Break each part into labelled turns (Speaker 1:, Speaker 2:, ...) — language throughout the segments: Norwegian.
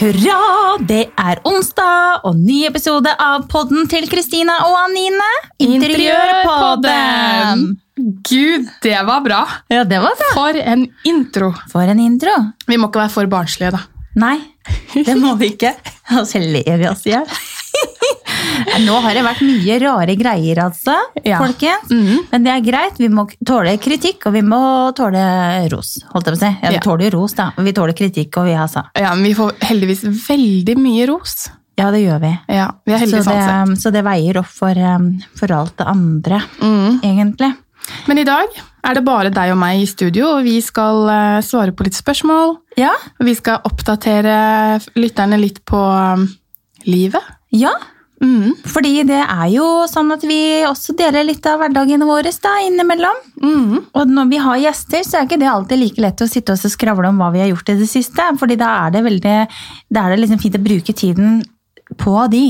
Speaker 1: Hurra, det er onsdag og ny episode av podden til Kristina og Anine. Interiørpodden!
Speaker 2: Gud, det var bra.
Speaker 1: Ja, det var det.
Speaker 2: For en intro.
Speaker 1: For en intro.
Speaker 2: Vi må ikke være for barnslige, da.
Speaker 1: Nei, det må vi ikke. Og så ler vi oss i hjel. Nå har det vært mye rare greier, altså,
Speaker 2: Ja.
Speaker 1: folkens.
Speaker 2: Mhm.
Speaker 1: Men det er greit. Vi må tåle kritikk, og vi må tåle ros. Holdt jeg på å si. Ja, vi
Speaker 2: Ja.
Speaker 1: tåler jo ros, da. Vi tåler kritikk, og vi altså.
Speaker 2: Ja, men vi får heldigvis veldig mye ros.
Speaker 1: Ja, det gjør vi.
Speaker 2: Ja, vi er
Speaker 1: Så
Speaker 2: heldige sånn sett.
Speaker 1: det, så det veier opp for, um, for alt det andre,
Speaker 2: Mm.
Speaker 1: egentlig.
Speaker 2: Men i dag er det bare deg og meg i studio, og vi skal eh, svare på litt spørsmål.
Speaker 1: Ja.
Speaker 2: Og vi skal oppdatere lytterne litt på um, livet.
Speaker 1: ja.
Speaker 2: Mm.
Speaker 1: Fordi det er jo sånn at vi også deler litt av hverdagene våre da, innimellom.
Speaker 2: Mm.
Speaker 1: Og når vi har gjester, så er ikke det alltid like lett å sitte og så skravle om hva vi har gjort i det siste. Fordi da er det, veldig, da er det liksom fint å bruke tiden på de.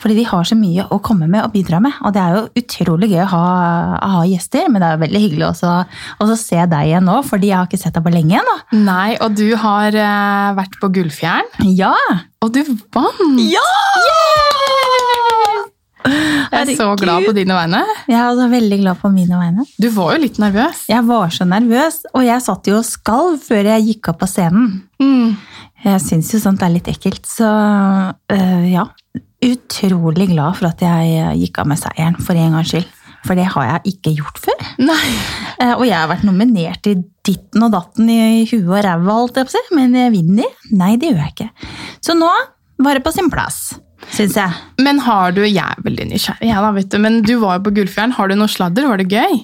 Speaker 1: Fordi de har så mye å komme med og bidra med. Og det er jo utrolig gøy å ha, å ha gjester, men det er jo veldig hyggelig også, også å se deg igjen nå, fordi jeg har ikke sett deg på lenge nå.
Speaker 2: Nei, og du har eh, vært på Gullfjern,
Speaker 1: Ja!
Speaker 2: og du vant!
Speaker 1: Ja!
Speaker 2: Jeg er så glad på dine vegne.
Speaker 1: Jeg er altså veldig glad på mine vegne.
Speaker 2: Du var jo litt nervøs.
Speaker 1: Jeg var så nervøs, og jeg satt jo og skalv før jeg gikk opp på scenen.
Speaker 2: Mm.
Speaker 1: Jeg syns jo sånt er litt ekkelt, så øh, ja. Utrolig glad for at jeg øh, gikk av med seieren, for en gangs skyld. For det har jeg ikke gjort før.
Speaker 2: Nei.
Speaker 1: Eh, Og jeg har vært nominert i ditten og datten i huet og ræva, holdt jeg på å si. Men jeg vinner? Nei, det gjør jeg ikke. Så nå var det på sin plass, syns jeg.
Speaker 2: Men har du, jeg er veldig nysgjerrig, jeg da, vet du, men du var jo på Gullfjern. Har du noe sladder? Var det gøy?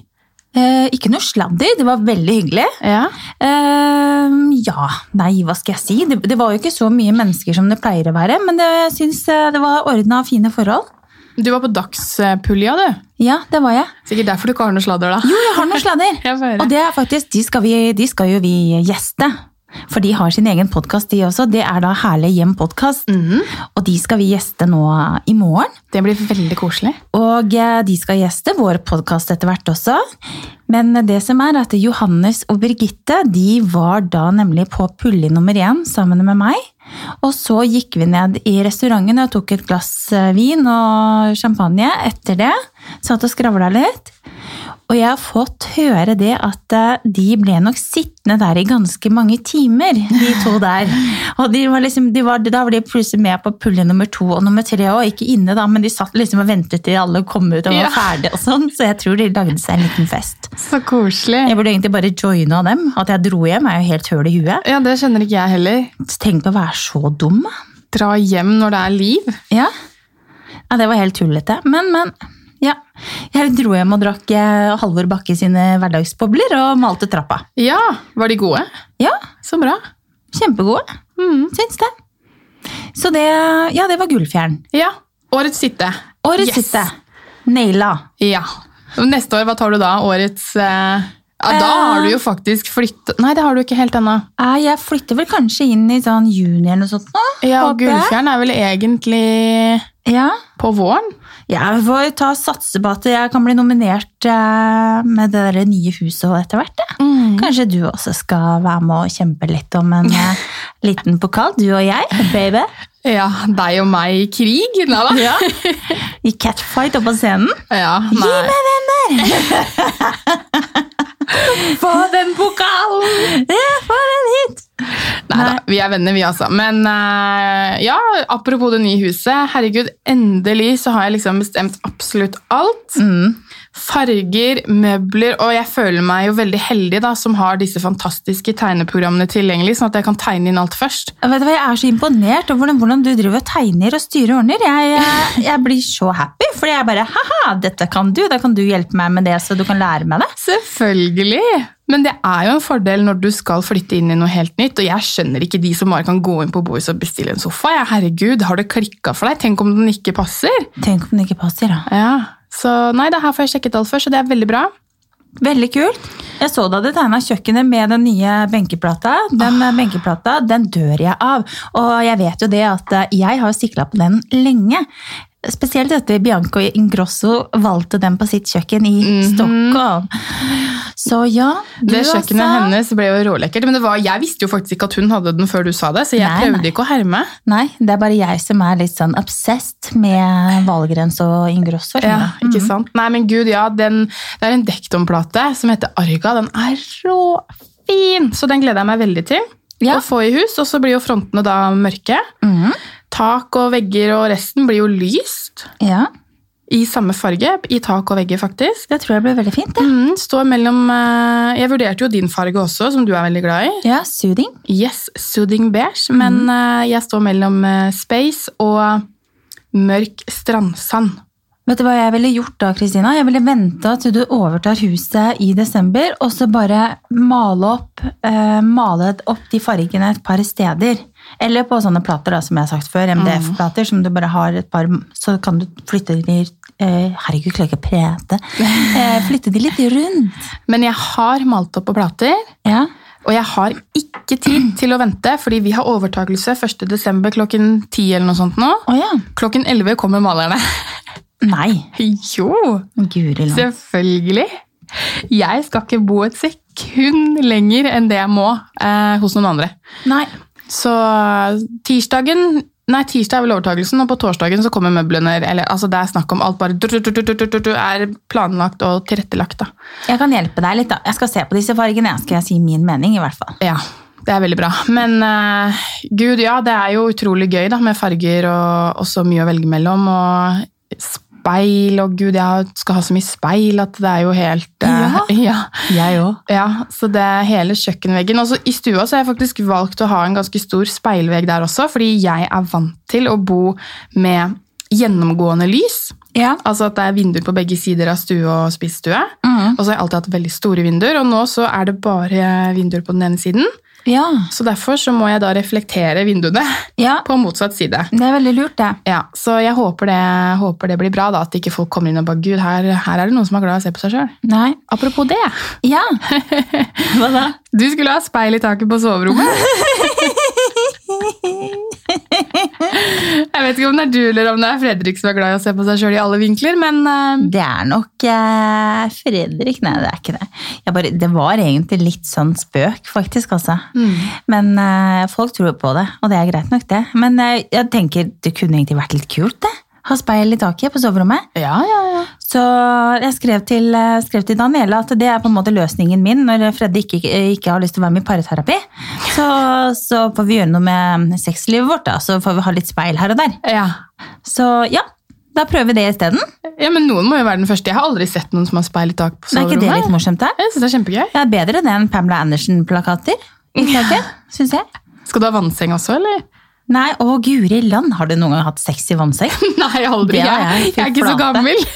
Speaker 1: Eh, Ikke noe sladder, det var veldig hyggelig.
Speaker 2: Ja.
Speaker 1: Ehm, ja, nei, hva skal jeg si? Det, det var jo ikke så mye mennesker som det pleier å være, men det, jeg syns eh, det var ordna og fine forhold.
Speaker 2: Du var på Dagspulja, du.
Speaker 1: Ja, det var jeg.
Speaker 2: Sikkert derfor du ikke har noe sladder, da.
Speaker 1: Jo, jeg har noen sladder!
Speaker 2: Jeg får høre.
Speaker 1: Og det er faktisk, de skal, vi, de skal jo vi gjeste. For de har sin egen podkast, de også. Det er da Herlig hjem-podkast.
Speaker 2: Mhm.
Speaker 1: Og de skal vi gjeste nå i morgen.
Speaker 2: Det blir veldig koselig.
Speaker 1: Og eh, de skal gjeste vår podkast etter hvert også. Men det som er at Johannes og Birgitte de var da nemlig på pulle nummer én sammen med meg. Og så gikk vi ned i restauranten og tok et glass eh, vin og champagne etter det. Satt og skravla litt. Og jeg har fått høre det at eh, de ble nok sittende der i ganske mange timer, de to der. Og de var liksom, de var, da var de plutselig med på pulje nummer to og nummer tre, og ikke inne da, men de satt liksom og ventet til alle kom ut og var
Speaker 2: Ja.
Speaker 1: ferdige og sånn, så jeg tror de lagde seg en liten fest.
Speaker 2: Så koselig.
Speaker 1: Jeg burde egentlig bare joine av dem. At jeg dro hjem er jo helt høl i huet.
Speaker 2: Ja, det skjønner ikke jeg heller.
Speaker 1: Tenk på å være så dum. da.
Speaker 2: Dra hjem når det er liv.
Speaker 1: Ja. ja, det var helt tullete. Men, men. Ja. Jeg dro hjem og drakk eh, Halvor Bakke sine hverdagsbobler og malte trappa.
Speaker 2: Ja, var de gode?
Speaker 1: Ja,
Speaker 2: Så bra.
Speaker 1: kjempegode.
Speaker 2: Mhm.
Speaker 1: Syns det. Så det Ja, det var Gullfjern.
Speaker 2: Ja. Årets sitte.
Speaker 1: Årets
Speaker 2: Yes.
Speaker 1: siste. Naila.
Speaker 2: Ja. Og Neste år, hva tar du da? Årets eh... Ja, da
Speaker 1: Eh.
Speaker 2: har du jo faktisk flyttet Nei, det har du ikke helt ennå.
Speaker 1: Eh, Jeg flytter vel kanskje inn i sånn juni eller noe sånt nå.
Speaker 2: Ja,
Speaker 1: håper jeg.
Speaker 2: Gullfjern er vel egentlig
Speaker 1: Ja.
Speaker 2: på våren?
Speaker 1: Jeg får ta satse på at jeg kan bli nominert eh, med det der nye huset og etter hvert. jeg. Kanskje du også skal være med og kjempe litt om en eh, liten pokal, du og jeg, baby.
Speaker 2: Ja, deg og meg i krig. Nei da. Ja.
Speaker 1: I catfight oppe på scenen.
Speaker 2: nei.
Speaker 1: Få den pokalen! Ja, få den hit!
Speaker 2: Neida, vi er venner vi altså. Men eh, ja, apropos det nye huset. Herregud, endelig så har jeg liksom bestemt absolutt alt.
Speaker 1: Mm.
Speaker 2: Farger, møbler, og jeg føler meg jo veldig heldig da, som har disse fantastiske tegneprogrammene tilgjengelig, sånn at jeg kan tegne inn alt først.
Speaker 1: Vet du hva, Jeg er så imponert over hvordan, hvordan du driver og tegner og styrer og ordner. Jeg, jeg, jeg blir så happy, fordi jeg bare haha, dette kan du. Da kan du hjelpe meg med det, så du kan lære meg det.
Speaker 2: Selvfølgelig! Men det er jo en fordel når du skal flytte inn i noe helt nytt. Og jeg skjønner ikke de som bare kan gå inn på Boys og bestille en sofa. Ja, herregud, har det klikka for deg? Tenk om den ikke passer?
Speaker 1: Tenk om det ikke passer, da.
Speaker 2: Ja, så nei, det her får jeg sjekket alt først, så det er veldig bra.
Speaker 1: Veldig kult. Jeg så da du tegna kjøkkenet med den nye benkeplata. Den eh, benkeplata den dør jeg av. Og jeg vet jo det at eh, jeg har sikla på den lenge. Spesielt etter Bianco Ingrosso valgte den på sitt kjøkken i
Speaker 2: Mhm.
Speaker 1: Stockholm. Så ja, du
Speaker 2: Det kjøkkenet
Speaker 1: altså.
Speaker 2: hennes ble jo rålekkert. Men det var, jeg visste jo faktisk ikke at hun hadde den før du sa det, så jeg
Speaker 1: Nei,
Speaker 2: prøvde
Speaker 1: nei.
Speaker 2: ikke å herme.
Speaker 1: Nei, det er bare jeg som er litt sånn obsessed med Valgrens og Ingrosso.
Speaker 2: Ja,
Speaker 1: skjønner du?
Speaker 2: ikke sant? Nei, men gud, ja, den, det er en Dekton-plate som heter Arga. Den er råfin! Så den gleder jeg meg veldig til
Speaker 1: Ja.
Speaker 2: å få i hus. Og så blir jo frontene da mørke.
Speaker 1: Mhm.
Speaker 2: Tak og vegger og resten blir jo lyst
Speaker 1: ja,
Speaker 2: i samme farge. I tak og vegger, faktisk.
Speaker 1: det tror jeg blir veldig fint. Det.
Speaker 2: Mm, står mellom eh, Jeg vurderte jo din farge også, som du er veldig glad i.
Speaker 1: Ja, soothing.
Speaker 2: Yes, soothing beige, men eh, jeg står mellom eh, space og mørk strandsand.
Speaker 1: Vet du hva jeg ville gjort da, Kristina? Jeg ville venta til du overtar huset i desember, og så bare male opp, eh, male opp de fargene et par steder. Eller på sånne plater da, som jeg har sagt før, MDF-plater, som du bare har et par, så kan du flytte de eh, Herregud, klarer ikke å prete. Eh, flytte de litt rundt.
Speaker 2: Men jeg har malt opp på plater,
Speaker 1: Ja,
Speaker 2: og jeg har ikke tid til å vente, fordi vi har overtakelse 1. desember klokken 10 eller noe sånt nå.
Speaker 1: Å ja.
Speaker 2: Klokken 11 kommer malerne.
Speaker 1: Nei.
Speaker 2: Jo,
Speaker 1: Guri land.
Speaker 2: selvfølgelig. Jeg skal ikke bo et sekund lenger enn det jeg må eh, hos noen andre.
Speaker 1: Nei.
Speaker 2: Så tirsdagen Nei, tirsdag er vel overtagelsen, og på torsdagen så kommer møblene. Eller, altså det er snakk om alt bare du, du, du, du, du, du, du, er planlagt og tilrettelagt. Da.
Speaker 1: Jeg kan hjelpe deg litt, da. Jeg skal se på disse fargene. Jeg skal si min mening, i hvert fall.
Speaker 2: Ja, det er veldig bra. Men eh, gud, ja, det er jo utrolig gøy da, med farger og, og så mye å velge mellom. Og speil, og gud, jeg skal ha så mye speil at det er jo helt eh, ja.
Speaker 1: Jeg òg.
Speaker 2: Ja, så det er hele kjøkkenveggen. Og så I stua så har jeg faktisk valgt å ha en ganske stor speilvegg der også, fordi jeg er vant til å bo med gjennomgående lys.
Speaker 1: Ja.
Speaker 2: Altså at det er vinduer på begge sider av stue og spisestue.
Speaker 1: Mhm.
Speaker 2: Og så har jeg alltid hatt veldig store vinduer, og nå så er det bare vinduer på den ene siden.
Speaker 1: ja.
Speaker 2: Så derfor så må jeg da reflektere vinduene
Speaker 1: Ja.
Speaker 2: på motsatt side.
Speaker 1: Det er veldig lurt, det.
Speaker 2: Ja, Så jeg håper det, håper det blir bra, da, at ikke folk kommer inn og bare Gud, her, her er det noen som er glad i å se på seg sjøl.
Speaker 1: Nei.
Speaker 2: Apropos det.
Speaker 1: Ja. Hva da?
Speaker 2: Du skulle ha speil i taket på soverommet. Jeg vet ikke om det er du eller om det er Fredrik som er glad i å se på seg sjøl i alle vinkler, men eh,
Speaker 1: Det er nok eh, Fredrik. Nei, det er ikke det. Jeg bare, det var egentlig litt sånn spøk, faktisk, altså. Men eh, folk tror på det, og det er greit nok, det. Men eh, jeg tenker det kunne egentlig vært litt kult, det. Ha speil i taket på soverommet.
Speaker 2: Ja, ja, ja.
Speaker 1: Så jeg skrev til, eh, skrev til Daniela at det er på en måte løsningen min når Fredde ikke, ikke har lyst til å være med i pareterapi. Så, så får vi gjøre noe med sexlivet vårt, da. Så får vi ha litt speil her og der.
Speaker 2: Ja.
Speaker 1: Så ja, da prøver vi det isteden.
Speaker 2: ja, men noen må jo være den første. Jeg har aldri sett noen som har speil i taket på
Speaker 1: Er ikke det litt
Speaker 2: soverommet.
Speaker 1: morsomt, da?
Speaker 2: Jeg synes det er kjempegøy.
Speaker 1: Ja, bedre det enn Pamela Andersen-plakater. Ja. Syns jeg.
Speaker 2: Skal du ha vannseng også, eller?
Speaker 1: Nei, å guri land, har du noen gang hatt sex i vannseng?
Speaker 2: Nei, aldri.
Speaker 1: Det har
Speaker 2: Jeg,
Speaker 1: jeg.
Speaker 2: jeg er ikke
Speaker 1: Fy
Speaker 2: så
Speaker 1: flate.
Speaker 2: gammel.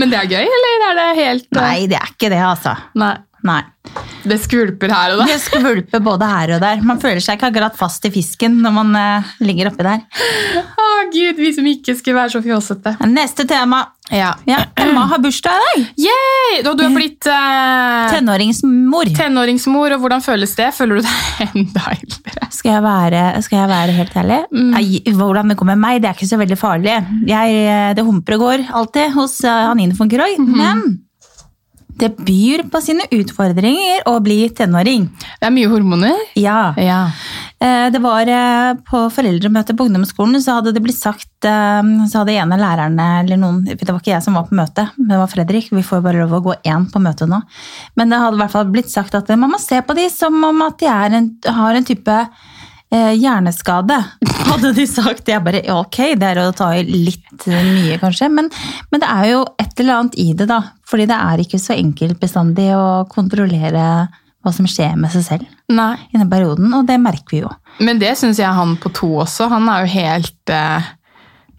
Speaker 2: men det er gøy, eller er det helt eh,
Speaker 1: Nei, det er ikke det, altså.
Speaker 2: Nei.
Speaker 1: Nei.
Speaker 2: Det skvulper her og da.
Speaker 1: Det skvulper både her og der. Man føler seg ikke akkurat fast i fisken når man eh, ligger oppi der.
Speaker 2: Å gud, vi som ikke skulle være så fjåsete.
Speaker 1: Neste tema.
Speaker 2: Ja.
Speaker 1: Ja, Emma har bursdag i dag.
Speaker 2: Yay! Da du har blitt eh,
Speaker 1: Tenåringsmor.
Speaker 2: tenåringsmor, og hvordan føles det? Føler du deg enda eldre?
Speaker 1: Skal jeg være, skal jeg være helt ærlig? Nei, hvordan det går med meg, det er ikke så veldig farlig. Jeg, eh, det humper og går alltid hos eh, Hanine von Krogh, men det byr på sine utfordringer å bli tenåring.
Speaker 2: Det er mye hormoner.
Speaker 1: Ja.
Speaker 2: Ja.
Speaker 1: Eh, Det var eh, på foreldremøtet på ungdomsskolen, så hadde det blitt sagt eh, Så hadde en av lærerne, eller noen Det var ikke jeg som var på møtet, men det var Fredrik. Vi får bare lov å gå én på møtet nå. Men det hadde i hvert fall blitt sagt at eh, man må se på de som om at de er en, har en type eh, hjerneskade. Hadde de sagt. Jeg bare ja, ok, det er å ta i litt eh, mye, kanskje. Men, men det er jo et eller annet i det, da. Fordi det er ikke så enkelt bestandig å kontrollere hva som skjer med seg selv
Speaker 2: Nei.
Speaker 1: i den perioden, og det merker vi jo.
Speaker 2: Men det syns jeg han på to også. Han er jo helt eh,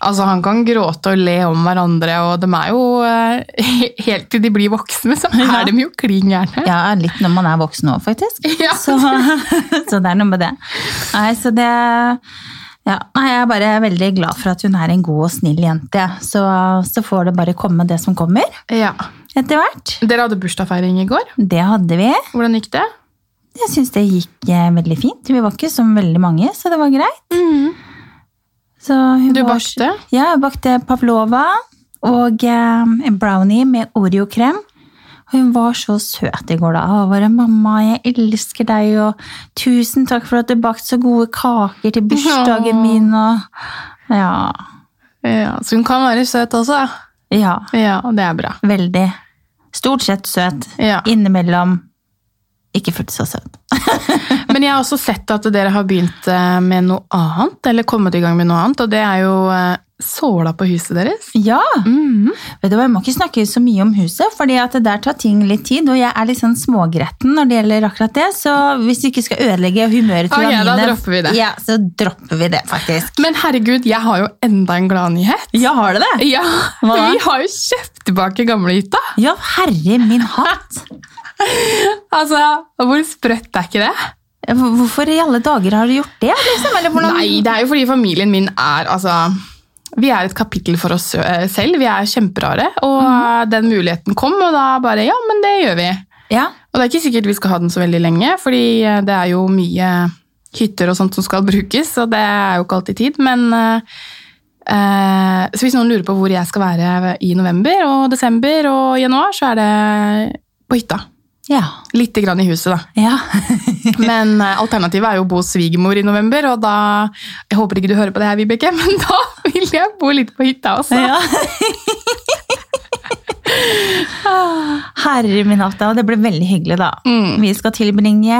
Speaker 2: Altså, han kan gråte og le om hverandre, og de er jo eh, Helt til de blir voksne, så
Speaker 1: Ja.
Speaker 2: er de jo klin gærne.
Speaker 1: Ja, litt når man er voksen òg, faktisk.
Speaker 2: Ja.
Speaker 1: Så, så det er noe med det. Nei, så det ja, nei, Jeg er bare veldig glad for at hun er en god og snill jente. jeg. Så, så får det bare komme det som kommer
Speaker 2: Ja.
Speaker 1: etter hvert.
Speaker 2: Dere hadde bursdagsfeiring i går.
Speaker 1: Det hadde vi.
Speaker 2: Hvordan gikk det? Mm.
Speaker 1: Jeg syns det gikk eh, veldig fint. Vi var ikke så veldig mange, så det var greit. Så hun
Speaker 2: Du
Speaker 1: var-
Speaker 2: bakte?
Speaker 1: Ja, jeg bakte pavlova og eh, en brownie med oreokrem. Og hun var så søt i går, da. Og bare 'Mamma, jeg elsker deg', og 'Tusen takk for at du bakte så gode kaker til bursdagen
Speaker 2: Åh.
Speaker 1: min', og Ja.
Speaker 2: Ja, så hun kan være søt også. da.
Speaker 1: Ja.
Speaker 2: Ja, det er bra.
Speaker 1: Veldig. Stort sett søt.
Speaker 2: Ja.
Speaker 1: Innimellom ikke fullt så søt.
Speaker 2: Men jeg har også sett at dere har begynt eh, med noe annet, eller kommet i gang med noe annet, og det er jo eh, såla på huset deres.
Speaker 1: Ja!
Speaker 2: Mhm.
Speaker 1: Vet du hva, Jeg må ikke snakke så mye om huset, fordi at det der tar ting litt tid. Og jeg er litt sånn smågretten når det gjelder akkurat det, så hvis vi ikke skal ødelegge humøret til
Speaker 2: Ok, da
Speaker 1: Janine,
Speaker 2: dropper vi det.
Speaker 1: Ja, så dropper vi det, faktisk.
Speaker 2: Men herregud, jeg har jo enda en glad nyhet.
Speaker 1: Ja, har du det?
Speaker 2: Ja,
Speaker 1: Hva da?
Speaker 2: Vi har jo kjøpt tilbake gamlehytta.
Speaker 1: Ja, herre min hatt!
Speaker 2: Altså, hvor sprøtt er ikke det?
Speaker 1: Hvorfor i alle dager har du gjort det? Liksom? Eller hvordan
Speaker 2: Nei, det er jo fordi familien min er altså vi er et kapittel for oss ø, selv. Vi er kjemperare. Og ø, den muligheten kom, og da bare Ja, men det gjør vi.
Speaker 1: Ja,
Speaker 2: Og det er ikke sikkert vi skal ha den så veldig lenge, fordi ø, det er jo mye hytter og sånt som skal brukes, og det er jo ikke alltid tid. Men ø, ø, Så hvis noen lurer på hvor jeg skal være i november og desember og januar, så er det på hytta.
Speaker 1: ja,
Speaker 2: Lite grann i huset, da.
Speaker 1: ja.
Speaker 2: Men eh, alternativet er jo å bo hos svigermor i november, og da Jeg håper ikke du hører på det her, Vibeke, men da vil jeg bo litt på hytta også.
Speaker 1: ja. Herre min hatt, ja, det ble veldig hyggelig, da.
Speaker 2: Mm.
Speaker 1: Vi skal tilbringe,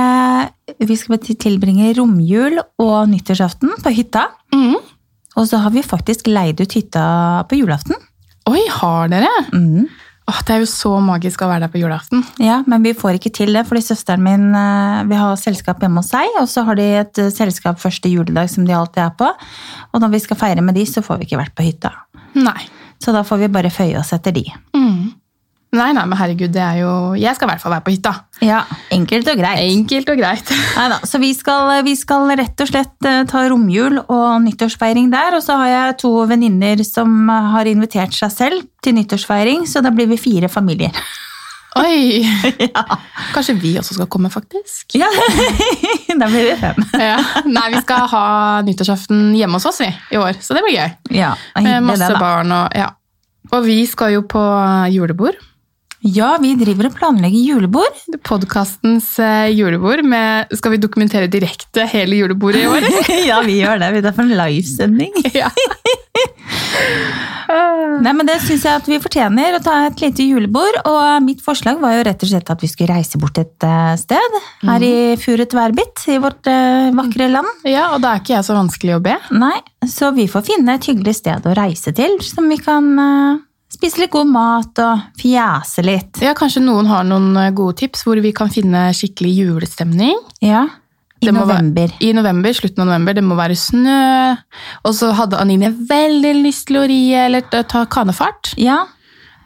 Speaker 1: vi skal tilbringe romjul og nyttårsaften på hytta.
Speaker 2: Mm.
Speaker 1: Og så har vi faktisk leid ut hytta på julaften.
Speaker 2: Oi, har dere?
Speaker 1: Mm.
Speaker 2: Åh, det er jo så magisk å være der på julaften.
Speaker 1: Ja, Men vi får ikke til det, fordi søsteren min eh, vil ha selskap hjemme hos seg. Og så har de et eh, selskap første juledag som de alltid er på. Og når vi skal feire med de, så får vi ikke vært på hytta.
Speaker 2: Nei.
Speaker 1: Så da får vi bare føye oss etter de.
Speaker 2: Mm. Nei, nei, men herregud, det er jo Jeg skal i hvert fall være på hytta.
Speaker 1: Ja, Enkelt og greit.
Speaker 2: Enkelt og greit.
Speaker 1: Neida, så vi skal, vi skal rett og slett eh, ta romjul og nyttårsfeiring der. Og så har jeg to venninner som eh, har invitert seg selv til nyttårsfeiring, så da blir vi fire familier.
Speaker 2: Oi! Kanskje vi også skal komme, faktisk?
Speaker 1: Ja, Da blir vi fem.
Speaker 2: Ja. Nei, vi skal ha nyttårsaften hjemme hos oss vi, i år, så det blir gøy.
Speaker 1: Ja, det er
Speaker 2: Eh,
Speaker 1: hyggelig
Speaker 2: Masse
Speaker 1: det, da.
Speaker 2: barn og Ja. Og vi skal jo på julebord.
Speaker 1: Ja, vi driver og planlegger julebord.
Speaker 2: Podkastens eh, julebord. Med, skal vi dokumentere direkte hele julebordet i år? eller?
Speaker 1: ja, vi gjør det. Vi tar for en livesending.
Speaker 2: ja.
Speaker 1: Nei, men Det syns jeg at vi fortjener, å ta et lite julebord. Og mitt forslag var jo rett og slett at vi skulle reise bort et eh, sted. Her i
Speaker 2: Mm.
Speaker 1: Furet Værbit, i vårt eh, vakre land.
Speaker 2: ja, og da er ikke jeg så vanskelig å be.
Speaker 1: Nei, så vi får finne et hyggelig sted å reise til, som vi kan eh, spise litt god mat og fjase litt.
Speaker 2: Ja, Kanskje noen har noen eh, gode tips hvor vi kan finne skikkelig julestemning?
Speaker 1: Ja, I
Speaker 2: Det må være-
Speaker 1: november.
Speaker 2: I november, slutten av november, det må være snø. Og så hadde Anine veldig lyst til å ri eller ta- ta kanefart.
Speaker 1: Ja,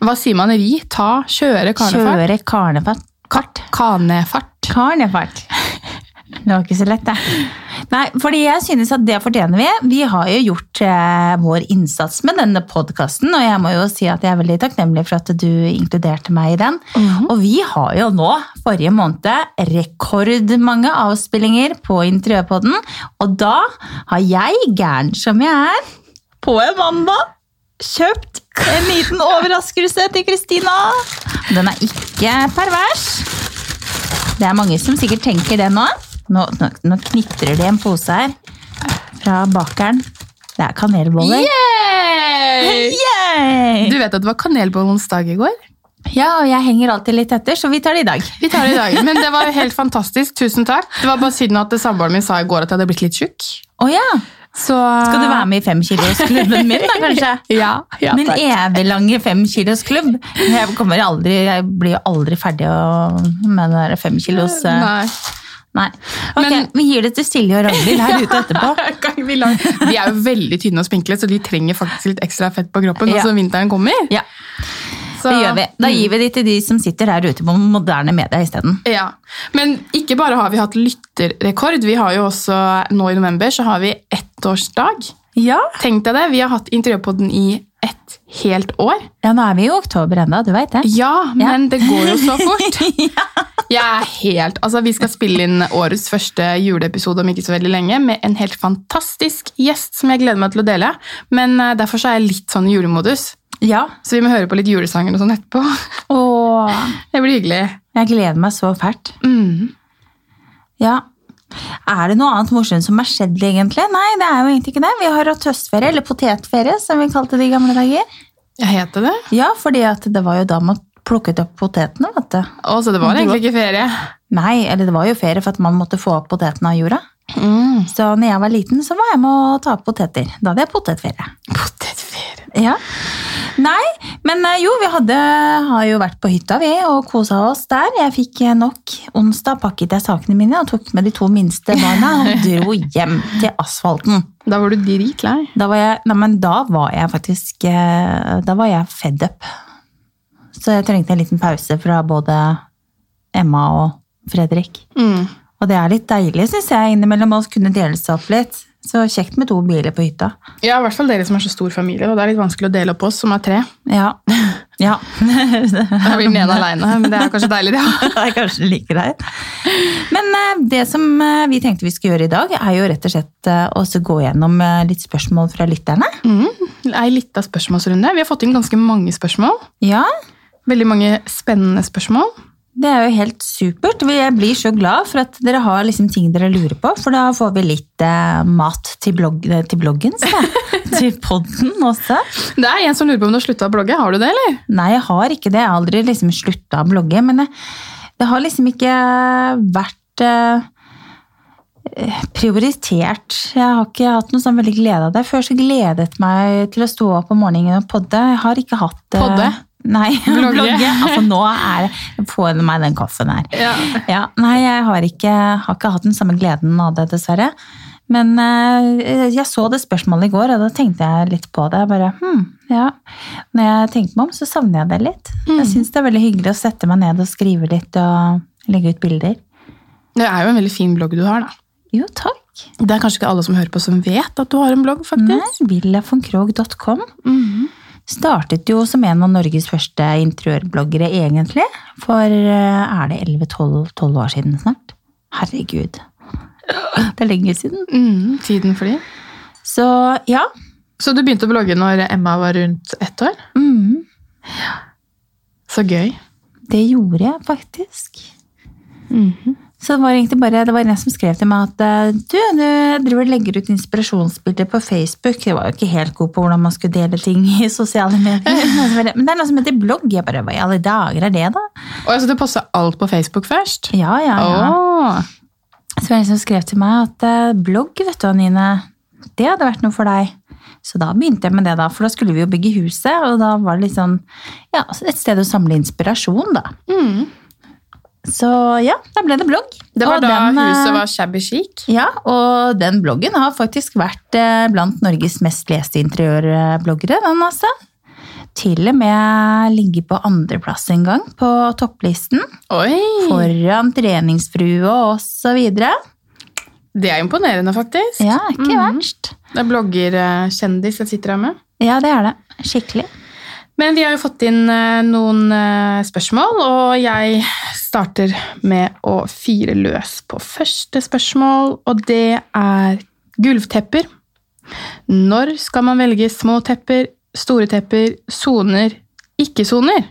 Speaker 2: Hva sier man? Ri, ta, kjøre kanefart?
Speaker 1: kjøre karnefart. Kart.
Speaker 2: Kanefart.
Speaker 1: Karnefart. Det var ikke så lett, det. Nei, fordi jeg synes at det fortjener vi. Vi har jo gjort eh, vår innsats med denne podkasten, og jeg må jo si at jeg er veldig takknemlig for at du inkluderte meg i den. Og vi har jo nå, forrige måned, rekordmange avspillinger på Interiørpodden, og da har jeg, gæren som jeg er, på en mandag kjøpt en liten overraskelse til Kristina. Den er ikke pervers. Det er mange som sikkert tenker det nå. Nå, nå, nå knitrer det en pose her fra bakeren. Det er kanelboller.
Speaker 2: Yay!
Speaker 1: Yay!
Speaker 2: Du vet at det var kanelbollens dag i går?
Speaker 1: Ja, og jeg henger alltid litt etter, så vi tar det i dag.
Speaker 2: Vi tar det i dag, men det var jo helt fantastisk. Tusen takk. Det var bare synd at samboeren min sa i går at jeg hadde blitt litt tjukk.
Speaker 1: Å ja,
Speaker 2: Så
Speaker 1: skal du være med i femkilosklubben min da, kanskje?
Speaker 2: Ja, ja
Speaker 1: Min
Speaker 2: takk.
Speaker 1: eviglange femkilosklubb. Jeg, kommer aldri, jeg blir jo aldri ferdig å- med den der femkilos... eh,
Speaker 2: Nei.
Speaker 1: Nei. Ok,
Speaker 2: Men-
Speaker 1: vi gir det til Silje og Ragnhild her ute etterpå.
Speaker 2: Kan vi la- De er jo veldig tynne og spinkle, så de trenger faktisk litt ekstra fett på kroppen nå
Speaker 1: Ja.
Speaker 2: som vinteren kommer.
Speaker 1: Ja,
Speaker 2: Så-
Speaker 1: det gjør vi. Da gir vi det til de som sitter her ute på moderne medier isteden.
Speaker 2: Ja, Men ikke bare har vi hatt lytterrekord, vi har jo også nå i november så har vi ettårsdag.
Speaker 1: Ja.
Speaker 2: Tenk deg det, vi har hatt Interiørpodden i ett helt år.
Speaker 1: Ja, nå er vi jo i oktober ennå, du veit det.
Speaker 2: Ja, men det går jo så fort. Jeg er helt, altså Vi skal spille inn årets første juleepisode om ikke så veldig lenge med en helt fantastisk gjest som jeg gleder meg til å dele. Men eh, derfor så er jeg litt sånn i julemodus.
Speaker 1: Ja.
Speaker 2: Så vi må høre på litt julesanger og sånn etterpå.
Speaker 1: Åh,
Speaker 2: Det blir hyggelig.
Speaker 1: jeg gleder meg så fælt.
Speaker 2: Mm.
Speaker 1: Ja. Er det noe annet morsomt som har skjedd egentlig? Nei, det er jo egentlig ikke det. Vi har hatt høstferie, eller potetferie, som vi kalte det i gamle dager.
Speaker 2: Jeg heter det.
Speaker 1: Ja, fordi at det var jo da man plukket opp potetene, vet du.
Speaker 2: Å, så det var
Speaker 1: Du-
Speaker 2: egentlig ikke ferie.
Speaker 1: Nei, eller det var jo ferie for at man måtte få opp potetene av jorda.
Speaker 2: Mm.
Speaker 1: Så når jeg var liten, så var jeg med å ta opp poteter. Da hadde jeg potetferie.
Speaker 2: Potetferie.
Speaker 1: Ja. Nei, men eh, jo, vi hadde, har jo vært på hytta vi og kosa oss der. Jeg fikk eh, nok. Onsdag pakket jeg sakene mine og tok med de to minste barna og dro hjem til asfalten.
Speaker 2: Da var du dritlei.
Speaker 1: Da var jeg, nei, men da var jeg faktisk eh, Da var jeg fed up. Så jeg trengte en liten pause fra både Emma og Fredrik.
Speaker 2: Mm.
Speaker 1: Og det er litt deilig, syns jeg, innimellom å kunne dele seg opp litt. Så kjekt med to biler på hytta.
Speaker 2: Ja, i hvert fall dere som er så stor familie. Og det er litt vanskelig å dele opp oss som er tre.
Speaker 1: Ja. ja.
Speaker 2: Da blir den ene alene, men det er kanskje deilig, det òg.
Speaker 1: Jeg kanskje liker deg. Men eh, det som eh, vi tenkte vi skulle gjøre i dag, er jo rett og slett eh, også gå gjennom eh, litt spørsmål fra lytterne.
Speaker 2: Mm. Ei lita spørsmålsrunde. Vi har fått inn ganske mange spørsmål.
Speaker 1: Ja,
Speaker 2: Veldig mange spennende spørsmål.
Speaker 1: det er jo helt supert. Vi- Jeg blir så glad for at dere har liksom ting dere lurer på, for da får vi litt eh, mat til, blogg, eh, til bloggen, sa jeg. til podden også.
Speaker 2: Det er en som lurer på om du har slutta å blogge. Har du det, eller?
Speaker 1: Nei, jeg har ikke det. Jeg har aldri liksom slutta å blogge, men jeg, det har liksom ikke vært eh, prioritert. Jeg har ikke hatt noe sånn veldig glede av det. Før så gledet meg til å stå opp om morgenen og podde. Jeg har ikke hatt eh,
Speaker 2: Podde?
Speaker 1: Nei,
Speaker 2: Blogge?
Speaker 1: blogge. Altså nå er det Få i meg den kaffen her.
Speaker 2: Ja.
Speaker 1: Ja, nei, jeg har ikke, har ikke hatt den samme gleden av det, dessverre. Men eh, jeg så det spørsmålet i går, og da tenkte jeg litt på det. Jeg bare, hm, ja. Når jeg tenker meg om, så savner jeg det litt. Jeg syns det er veldig hyggelig å sette meg ned og skrive litt og legge ut bilder.
Speaker 2: Det er jo en veldig fin blogg du har, da.
Speaker 1: Jo, takk.
Speaker 2: Det er kanskje ikke alle som hører på som vet at du har en blogg,
Speaker 1: Nei,
Speaker 2: faktisk. Mm.
Speaker 1: villafonkrog.com startet jo som en av Norges første interiørbloggere, egentlig. For eh, er det 11-12 år siden snart? Herregud. Det er lenge siden.
Speaker 2: Mm, tiden flyr.
Speaker 1: Så ja,
Speaker 2: Så du begynte å blogge når Emma var rundt ett år?
Speaker 1: Mm,
Speaker 2: Så gøy.
Speaker 1: det gjorde jeg faktisk.
Speaker 2: Mm.
Speaker 1: Så det var egentlig bare det var en som skrev til meg at eh, du, du driver og legger ut inspirasjonsbilder på Facebook. Jeg var jo ikke helt god på hvordan man skulle dele ting i sosiale medier. Og så bare, Men det er noe som heter blogg. Jeg bare, Hva i alle dager er det, da?
Speaker 2: Og altså, du posta alt på Facebook først?
Speaker 1: Ja, ja, ja.
Speaker 2: Åh.
Speaker 1: Så var det en som skrev til meg at eh, blogg, vet du, Anine, det hadde vært noe for deg. Så da begynte jeg med det, da, for da skulle vi jo bygge huset. Og da var det litt sånn, ja, et sted å samle inspirasjon, da.
Speaker 2: Mm.
Speaker 1: Så ja, da ble det blogg.
Speaker 2: Det var
Speaker 1: Og
Speaker 2: da
Speaker 1: den, eh,
Speaker 2: huset var shabby chic.
Speaker 1: Ja, og den bloggen har faktisk vært eh, blant Norges mest leste interiørbloggere, den altså. Til og med ligge på andreplass en gang på topplisten.
Speaker 2: Oi!
Speaker 1: Foran treningsfrue og så videre.
Speaker 2: Det er imponerende, faktisk.
Speaker 1: Ja, ikke
Speaker 2: Mhm.
Speaker 1: verst.
Speaker 2: Det er bloggerkjendis jeg sitter her med.
Speaker 1: Ja, det er det. Skikkelig.
Speaker 2: Men vi har jo fått inn eh, noen eh, spørsmål, og jeg starter med å fire løs på første spørsmål, og det er gulvtepper. Når skal man velge små tepper, store tepper, soner, ikke-soner?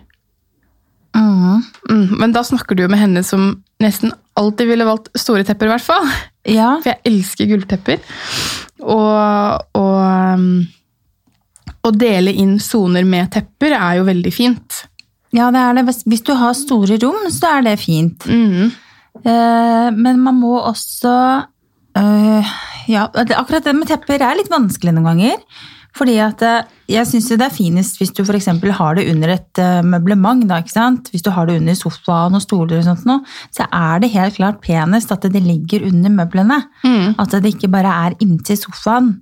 Speaker 1: Mhm.
Speaker 2: Mm, men da snakker du jo med henne som nesten alltid ville valgt store tepper, i hvert fall.
Speaker 1: Ja,
Speaker 2: For jeg elsker gulvtepper. Og, og um, å dele inn soner med tepper er jo veldig fint.
Speaker 1: ja, det er det. Hvis- Hvis du har store rom, så er det fint.
Speaker 2: Mm.
Speaker 1: Eh, Men man må også eh, Ja, det- akkurat det med tepper er litt vanskelig noen ganger. Fordi at eh, jeg syns det er finest hvis du f.eks. har det under et eh, møblement. Da, ikke sant? Hvis du har det under sofaen og stoler og sånt noe, så er det helt klart penest at det ligger under møblene.
Speaker 2: Mm.
Speaker 1: At det ikke bare er inntil sofaen.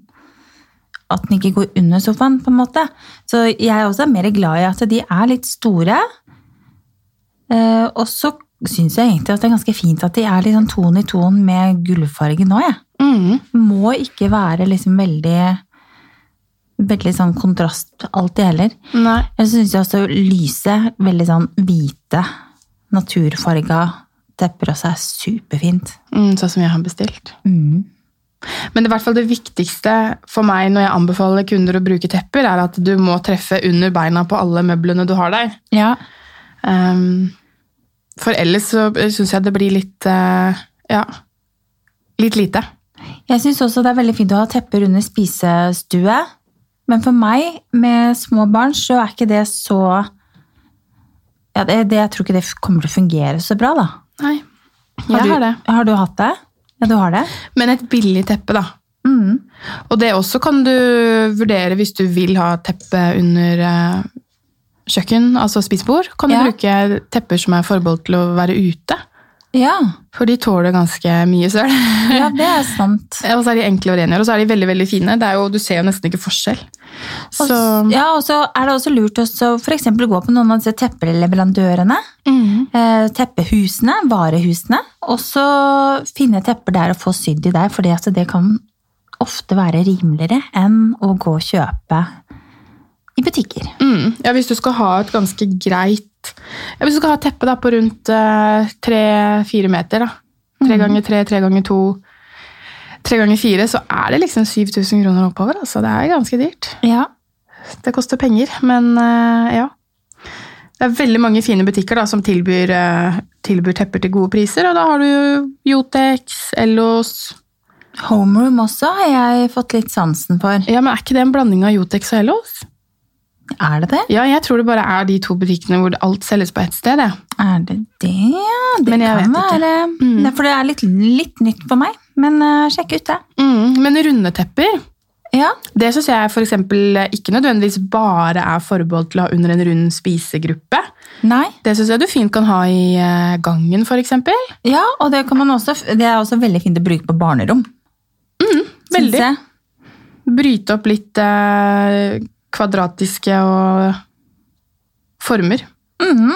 Speaker 1: At den ikke går under sofaen, på en måte. Så jeg er også mer glad i at de er litt store. Eh, og så syns jeg egentlig at det er ganske fint at de er litt sånn ton i ton med gullfargen òg, jeg.
Speaker 2: Mm.
Speaker 1: Må ikke være liksom veldig Veldig sånn kontrast alltid heller.
Speaker 2: Nei.
Speaker 1: Jeg syns også lyse, veldig sånn hvite, naturfarga tepper også er superfint.
Speaker 2: Mm, sånn som jeg har bestilt.
Speaker 1: Mm.
Speaker 2: Men det, er i hvert fall det viktigste for meg når jeg anbefaler kunder å bruke tepper, er at du må treffe under beina på alle møblene du har der.
Speaker 1: Ja.
Speaker 2: Ehm, for ellers så syns jeg det blir litt eh, Ja, litt lite.
Speaker 1: Jeg syns også det er veldig fint å ha tepper under spisestue. Men for meg med små barn så er ikke det så ja, det, det, Jeg tror ikke det kommer til å fungere så bra, da.
Speaker 2: Nei.
Speaker 1: Har
Speaker 2: Jeg
Speaker 1: du,
Speaker 2: har det.
Speaker 1: Har du hatt det? Ja, du har det?
Speaker 2: Men et billig teppe, da.
Speaker 1: Mm.
Speaker 2: Og det også kan du vurdere hvis du vil ha teppe under eh, kjøkken, altså spisebord. Kan du
Speaker 1: Ja.
Speaker 2: bruke tepper som er forbeholdt til å være ute?
Speaker 1: Ja.
Speaker 2: For de tåler ganske mye søl.
Speaker 1: ja, det er sant.
Speaker 2: og så er de enkle å rengjøre, og så er de veldig veldig fine. Det er jo, du ser jo nesten ikke forskjell.
Speaker 1: Og,
Speaker 2: Så,
Speaker 1: s- ja, og så er det også lurt å f.eks. gå på noen av disse teppeleverandørene.
Speaker 2: Mhm.
Speaker 1: eh, teppehusene, varehusene, og så finne tepper der og få sydd de der, for det kan ofte være rimeligere enn å gå og kjøpe i butikker.
Speaker 2: Mm. ja, hvis du skal ha et ganske greit ja, Hvis du skal ha et teppe da, på rundt tre-fire meter, da. Tre ganger tre, tre ganger to, tre ganger fire, så er det liksom 7000 kroner oppover. Altså. Det er ganske dyrt.
Speaker 1: Ja.
Speaker 2: Det koster penger, men eh, ja. Det er veldig mange fine butikker da, som tilbyr, eh, tilbyr tepper til gode priser, og da har du jo Jotex, Ellos
Speaker 1: Homeroom også har jeg fått litt sansen for.
Speaker 2: Ja, men er ikke det en blanding av Jotex og Ellos?
Speaker 1: Er det det?
Speaker 2: Ja, jeg tror det bare er de to butikkene hvor alt selges på ett sted, jeg.
Speaker 1: Er det det? Det
Speaker 2: Men jeg
Speaker 1: kan
Speaker 2: vet ikke.
Speaker 1: være.
Speaker 2: Mm.
Speaker 1: Det er for det er litt, litt nytt for meg, men eh, sjekk ut det.
Speaker 2: Mm, men runde tepper,
Speaker 1: Ja.
Speaker 2: det syns jeg f.eks. ikke nødvendigvis bare er forbeholdt til å ha under en rund spisegruppe.
Speaker 1: Nei.
Speaker 2: Det syns jeg du fint kan ha i eh, gangen, f.eks.
Speaker 1: Ja, og det, kan man også, det er også veldig fint å bruke på barnerom. syns
Speaker 2: Mm, veldig.
Speaker 1: jeg.
Speaker 2: Bryte opp litt eh, kvadratiske og former.
Speaker 1: Mhm.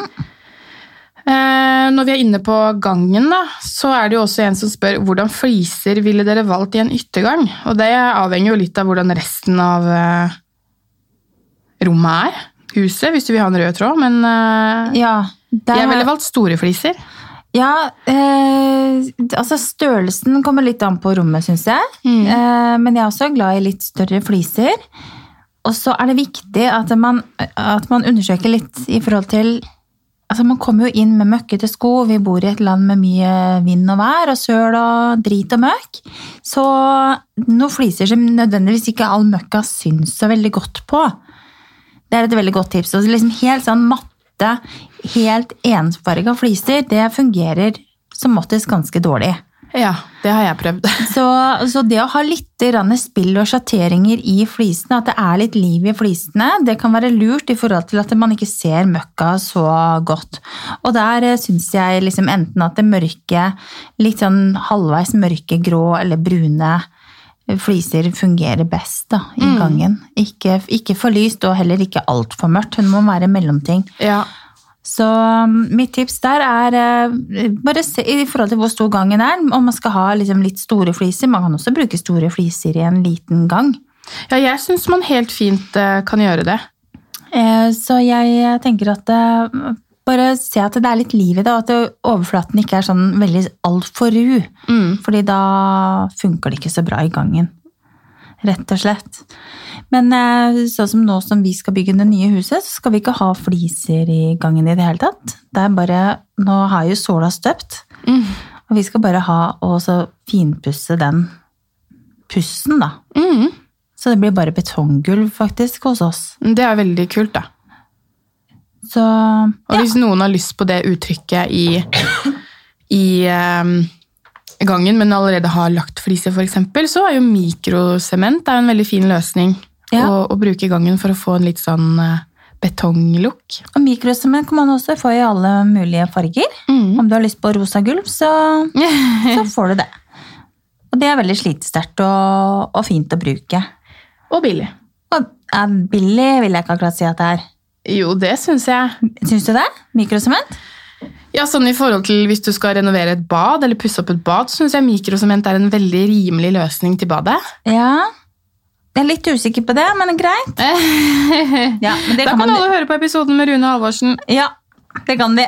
Speaker 2: Eh, når vi er inne på gangen, da, så er det jo også en som spør hvordan fliser ville dere valgt i en yttergang? Og det avhenger jo litt av hvordan resten av eh, rommet er. Huset, hvis du vil ha en rød tråd. Men eh,
Speaker 1: Ja, der
Speaker 2: jeg
Speaker 1: har-
Speaker 2: ville valgt store fliser.
Speaker 1: Ja, eh, altså størrelsen kommer litt an på rommet, syns jeg. Eh, men jeg er også glad i litt større fliser. Og så er det viktig at man, at man undersøker litt i forhold til Altså, Man kommer jo inn med møkkete sko, vi bor i et land med mye vind og vær og søl og drit og møkk. Så noen fliser som nødvendigvis ikke all møkka syns så veldig godt på. Det er et veldig godt tips. Og liksom helt sånn matte, helt ensfarga fliser, det fungerer som oftest ganske dårlig.
Speaker 2: Ja, det har jeg prøvd.
Speaker 1: Så, så det å ha litt grann spill og sjatteringer i flisene, at det er litt liv i flisene, det kan være lurt i forhold til at man ikke ser møkka så godt. Og der syns jeg liksom enten at det mørke, litt sånn halvveis mørke, grå eller brune eh, fliser fungerer best da, i gangen. Ikke, ikke for lyst og heller ikke altfor mørkt. Hun må være mellomting.
Speaker 2: ja.
Speaker 1: Så um, mitt tips der er eh, bare se i forhold til hvor stor gangen er, om man skal ha liksom litt store fliser. Man kan også bruke store fliser i en liten gang.
Speaker 2: ja, jeg syns man helt fint eh, kan gjøre det.
Speaker 1: Eh, Så jeg tenker at eh, bare se at det er litt liv i det, og at det- overflaten ikke er sånn veldig altfor ru.
Speaker 2: Mm.
Speaker 1: Fordi da funker det ikke så bra i gangen. Rett og slett. Men eh, sånn som nå som vi skal bygge det nye huset, så skal vi ikke ha fliser i gangen i det hele tatt. Det er bare, Nå har jo såla støpt,
Speaker 2: Mm.
Speaker 1: og vi skal bare ha og så finpusse den pussen, da.
Speaker 2: Mm.
Speaker 1: Så det blir bare betonggulv faktisk hos oss.
Speaker 2: Det er veldig kult, da.
Speaker 1: Så
Speaker 2: Og hvis noen har lyst på det uttrykket i, i ehm, gangen, men allerede har lagt fliser f.eks., så er jo mikrosement er jo en veldig fin løsning
Speaker 1: Ja.
Speaker 2: å, å bruke i gangen for å få en litt sånn eh, betonglook.
Speaker 1: Og mikrosement kan man også få i alle mulige farger.
Speaker 2: Mm.
Speaker 1: Om du har lyst på rosa gulv, så så får du det. Og det er veldig slitesterkt og, og fint å bruke.
Speaker 2: Og billig.
Speaker 1: Og eh, billig vil jeg ikke akkurat si at det er.
Speaker 2: Jo, det syns jeg.
Speaker 1: Syns du det? Mikrosement?
Speaker 2: Ja, sånn i forhold til Hvis du skal renovere et bad eller pusse opp et bad, så syns jeg mikrosement er en veldig rimelig løsning til badet.
Speaker 1: Ja. Jeg er litt usikker på det, men greit.
Speaker 2: da
Speaker 1: Ja, men det
Speaker 2: kan,
Speaker 1: kan man...
Speaker 2: alle høre på episoden med Rune Halvorsen.
Speaker 1: Ja, det kan vi.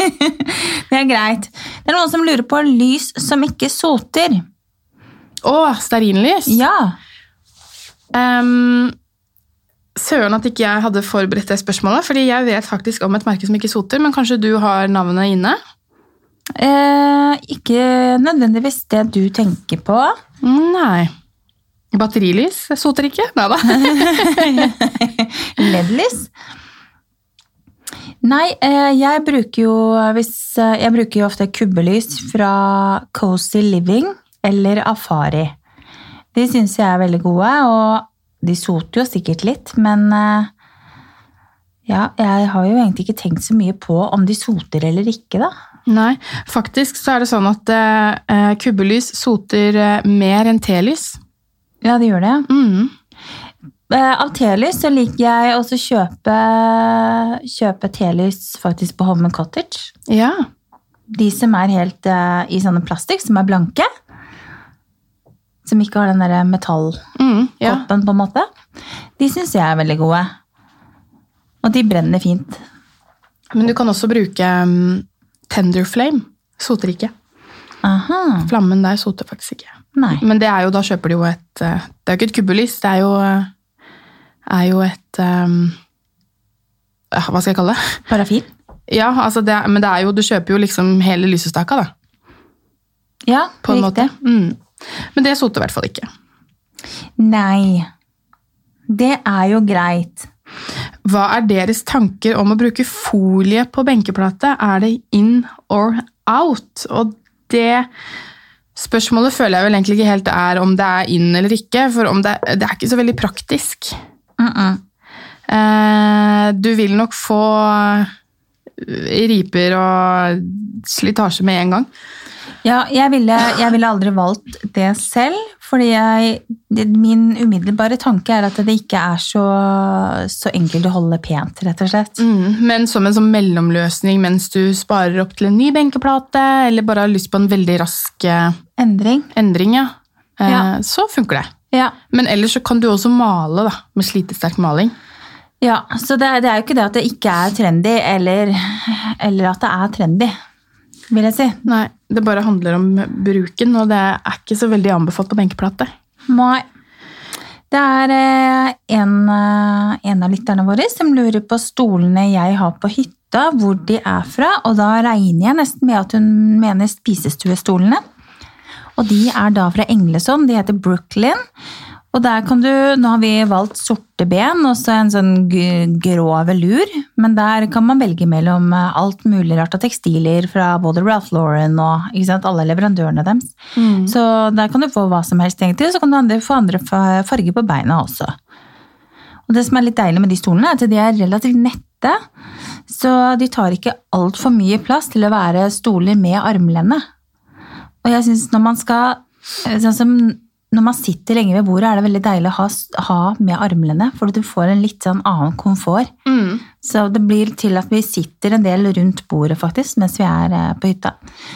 Speaker 1: det er greit. Det er noen som lurer på lys som ikke soter.
Speaker 2: Å, stearinlys!
Speaker 1: Ja.
Speaker 2: Ehm, søren at ikke jeg hadde forberedt det spørsmålet, fordi jeg vet faktisk om et merke som ikke soter, men kanskje du har navnet inne?
Speaker 1: Eh, ikke nødvendigvis det du tenker på.
Speaker 2: Nei. Batterilys soter ikke? Nei da.
Speaker 1: LED-lys. Nei, eh, jeg bruker jo hvis, eh, Jeg bruker jo ofte kubbelys fra Cozy Living eller Afari. De syns jeg er veldig gode, og de soter jo sikkert litt, men eh, ja, jeg har jo egentlig ikke tenkt så mye på om de soter eller ikke, da.
Speaker 2: Nei, faktisk så er det sånn at eh, kubbelys soter eh, mer enn telys.
Speaker 1: Ja, de gjør det. ja.
Speaker 2: Mm.
Speaker 1: Eh, Av telys så liker jeg også kjøpe, kjøpe telys faktisk på Holmen Cottage.
Speaker 2: Ja.
Speaker 1: De som er helt eh, i sånne plastikk, som er blanke. Som ikke har den der metallkoppen,
Speaker 2: Mm, ja.
Speaker 1: på en måte. De syns jeg er veldig gode. Og de brenner fint.
Speaker 2: Men du kan også bruke mm, tender flame. Soter ikke.
Speaker 1: Aha.
Speaker 2: Flammen der soter faktisk ikke.
Speaker 1: Nei.
Speaker 2: Men det er jo, da kjøper du jo et eh, Det er jo ikke et kubbelys, det er jo, eh, er jo et ehm, ja, Hva skal jeg kalle det?
Speaker 1: Parafin?
Speaker 2: Ja, altså det, er- Men det er jo, du kjøper jo liksom hele lysestaka, da.
Speaker 1: Ja,
Speaker 2: På en
Speaker 1: riktig.
Speaker 2: måte. Mm. Men det soter i hvert fall ikke.
Speaker 1: Nei. Det er jo greit.
Speaker 2: Hva er deres tanker om å bruke folie på benkeplate? Er det in or out? Og det spørsmålet føler jeg vel egentlig ikke helt er om det er in eller ikke, for om det, det er ikke så veldig praktisk.
Speaker 1: Mm -mm.
Speaker 2: Eh, du vil nok få eh, riper og slitasje med en gang.
Speaker 1: Ja, jeg ville, jeg ville aldri valgt det selv, fordi jeg, det- min umiddelbare tanke er at det ikke er så, så enkelt å holde pent, rett og
Speaker 2: Mm.
Speaker 1: slett.
Speaker 2: Men som en sånn mellomløsning mens du sparer opp til en ny benkeplate, eller bare har lyst på en veldig rask eh,
Speaker 1: Endring.
Speaker 2: endring, ja. Eh,
Speaker 1: Ja.
Speaker 2: Så funker det.
Speaker 1: Ja,
Speaker 2: Men ellers så kan du også male da, med slitesterk maling.
Speaker 1: ja så det, er- det er jo ikke det at det ikke er trendy, eller, eller at det er trendy, vil jeg si.
Speaker 2: Nei, Det bare handler om bruken, og det er ikke så veldig anbefalt på benkeplate.
Speaker 1: Nei. Det er eh, en, eh, en av lytterne våre som lurer på stolene jeg har på hytta, hvor de er fra, og da regner jeg nesten med at hun mener spisestuestolene. Og de er da fra Englesund, de heter Brooklyn. Og der kan du, nå har vi valgt sorte ben og så en sånn g- grå velur, men der kan man velge mellom eh, alt mulig rart av tekstiler fra både Ralph Lauren og ikke sant, alle leverandørene deres. Så der kan du få hva som helst egentlig, og så kan du andre, få andre fa- farger på beina også. Og det som er litt deilig med de stolene, er at de er relativt nette, så de tar ikke altfor mye plass til å være stoler med armlene. Og jeg synes når man skal sånn som når man sitter lenge ved bordet, er det veldig deilig å ha, ha med armlene, for du får en litt sånn annen komfort.
Speaker 2: Mm.
Speaker 1: Så det blir til at vi sitter en del rundt bordet faktisk, mens vi er eh, på hytta.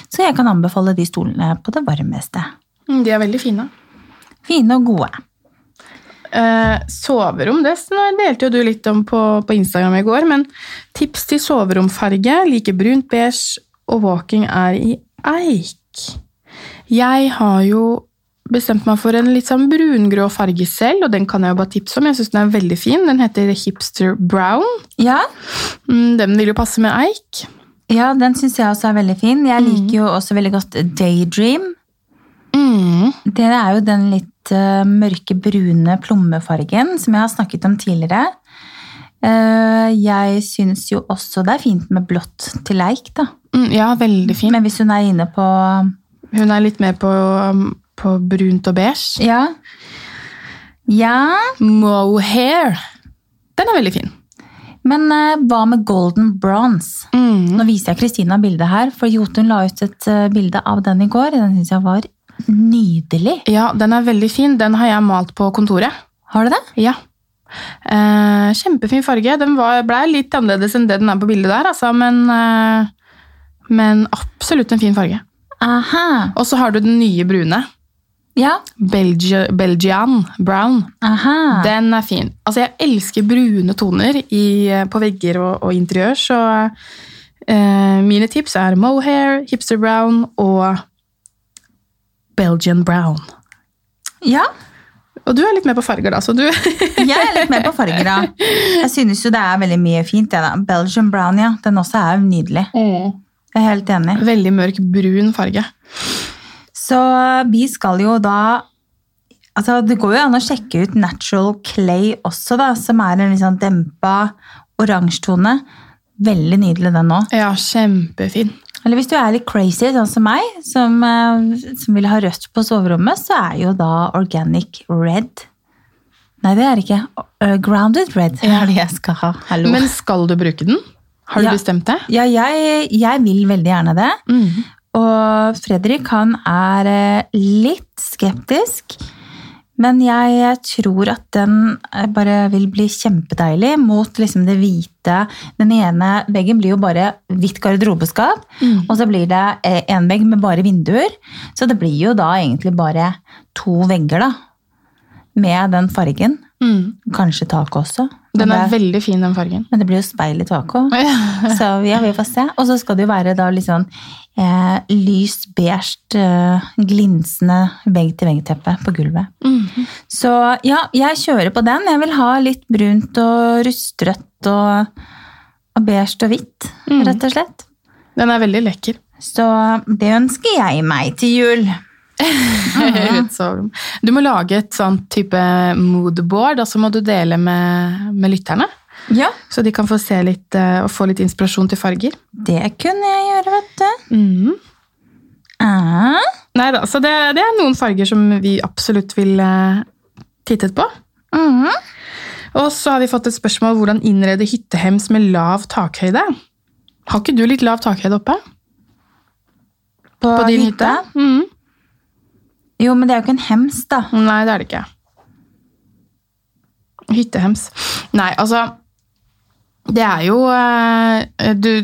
Speaker 1: Så jeg kan anbefale de stolene på det varmeste.
Speaker 2: Mm, De er veldig fine.
Speaker 1: Fine og gode.
Speaker 2: Eh, soverom det s- nå delte jo du litt om på, på Instagram i går, men tips til soveromfarge like brunt, beige og walking er i eik. Jeg har jo bestemt meg for en litt sånn brungrå farge selv, og den kan jeg jo bare tipse om. Jeg syns den er veldig fin. Den heter Hipster Brown.
Speaker 1: Ja,
Speaker 2: Mm, den vil jo passe med eik.
Speaker 1: ja den syns jeg også er veldig fin. Jeg liker jo også veldig godt Daydream.
Speaker 2: Mm.
Speaker 1: Det er jo den litt eh, mørke brune plommefargen som jeg har snakket om tidligere. Eh, jeg syns jo også det er fint med blått til leik, da.
Speaker 2: Mm, ja, veldig fin.
Speaker 1: Men hvis hun er inne på
Speaker 2: Hun er litt mer på, um, på brunt og beige.
Speaker 1: Ja. Ja,
Speaker 2: Mohair. Den er veldig fin.
Speaker 1: men eh, hva med golden bronze?
Speaker 2: Mm.
Speaker 1: Nå viser jeg Kristina bildet her, for Jotun la ut et eh, bilde av den i går. Den syns jeg var nydelig.
Speaker 2: Ja, den er veldig fin. Den har jeg malt på kontoret.
Speaker 1: Har du det?
Speaker 2: Ja. Eh, kjempefin farge. Den var, ble litt annerledes enn det den er på bildet der, altså, men, eh, men absolutt en fin farge.
Speaker 1: Aha.
Speaker 2: Og så har du den nye brune.
Speaker 1: Ja.
Speaker 2: Belgi Belgian Brown.
Speaker 1: Aha.
Speaker 2: Den er fin. Altså, jeg elsker brune toner i, eh, på vegger og, og interiør, så eh, mine tips er mohair, hipster brown og Belgian brown.
Speaker 1: Ja,
Speaker 2: Og du er litt med på farger, da, så du
Speaker 1: jeg er litt mer på farger da. Jeg synes jo det er veldig mye fint, det da. Belgian brown, ja. Den også er jo nydelig. Jeg er helt enig.
Speaker 2: Veldig mørk brun farge.
Speaker 1: Så eh, vi skal jo da Altså, det går jo an å sjekke ut Natural Clay også, da, som er en litt sånn dempa oransjetone. Veldig nydelig, den òg.
Speaker 2: Ja, kjempefin.
Speaker 1: Eller hvis du er litt crazy, sånn som meg, som, eh, som vil ha rødt på soverommet, så er jo da Organic Red Nei, det er det ikke. Eh, Grounded Red er det jeg skal ha. Hallo.
Speaker 2: Men skal du bruke den? Har du
Speaker 1: Ja. Mm.
Speaker 2: bestemt Mm. det?
Speaker 1: ja, jeg, jeg vil veldig gjerne det. Og Fredrik han er eh, litt skeptisk, men jeg tror at den eh, bare vil bli kjempedeilig mot liksom det hvite. Den ene veggen blir jo bare hvitt garderobeskap,
Speaker 2: Mm.
Speaker 1: og så blir det eh, en vegg med bare vinduer. Så det blir jo da egentlig bare to vegger da, med den fargen.
Speaker 2: Mm.
Speaker 1: Kanskje taket også. Men
Speaker 2: Den er
Speaker 1: det,
Speaker 2: veldig fin, den fargen.
Speaker 1: men det blir jo speil i taket også. Så ja, vi får se. Og så skal det jo være da litt sånn eh, lys beige, eh, glinsende vegg-til-vegg-teppe på gulvet.
Speaker 2: Mhm.
Speaker 1: Så ja, jeg kjører på den. Jeg vil ha litt brunt og rustrødt og, og beige og hvitt,
Speaker 2: Mm.
Speaker 1: rett og slett.
Speaker 2: Den er veldig lekker.
Speaker 1: Så det ønsker jeg meg til jul.
Speaker 2: Rødt soverom. Du må lage et sånt type moodboard, og så må du dele med, med lytterne.
Speaker 1: Ja.
Speaker 2: Så de kan få se litt eh, og få litt inspirasjon til farger.
Speaker 1: Det kunne jeg gjøre, vet du.
Speaker 2: Mhm.
Speaker 1: Ah,
Speaker 2: Neida, så det, det er noen farger som vi absolutt vil eh, tittet på.
Speaker 1: mhm.
Speaker 2: Og så har vi fått et spørsmål hvordan innrede hyttehems med lav takhøyde. Har ikke du litt lav takhøyde oppe?
Speaker 1: På,
Speaker 2: På din hytte?
Speaker 1: hytta?
Speaker 2: Mhm.
Speaker 1: Jo, men det er jo ikke en hems, da.
Speaker 2: Nei, det er det ikke. Hyttehems. Nei, altså Det er jo eh, Du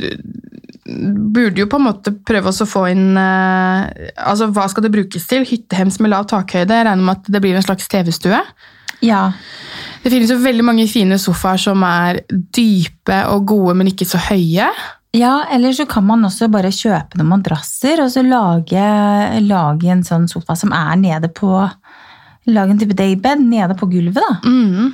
Speaker 2: burde jo på en måte prøve også å få inn eh, Altså, hva skal det brukes til? Hyttehems med lav takhøyde? Jeg regner med at det blir en slags TV-stue.
Speaker 1: Ja.
Speaker 2: Det finnes jo veldig mange fine sofaer som er dype og gode, men ikke så høye.
Speaker 1: Ja, eller så kan man også bare kjøpe noen madrasser, og så lage, lage en sånn sofa som er nede på Lage en type daybed nede på gulvet, da.
Speaker 2: Mm.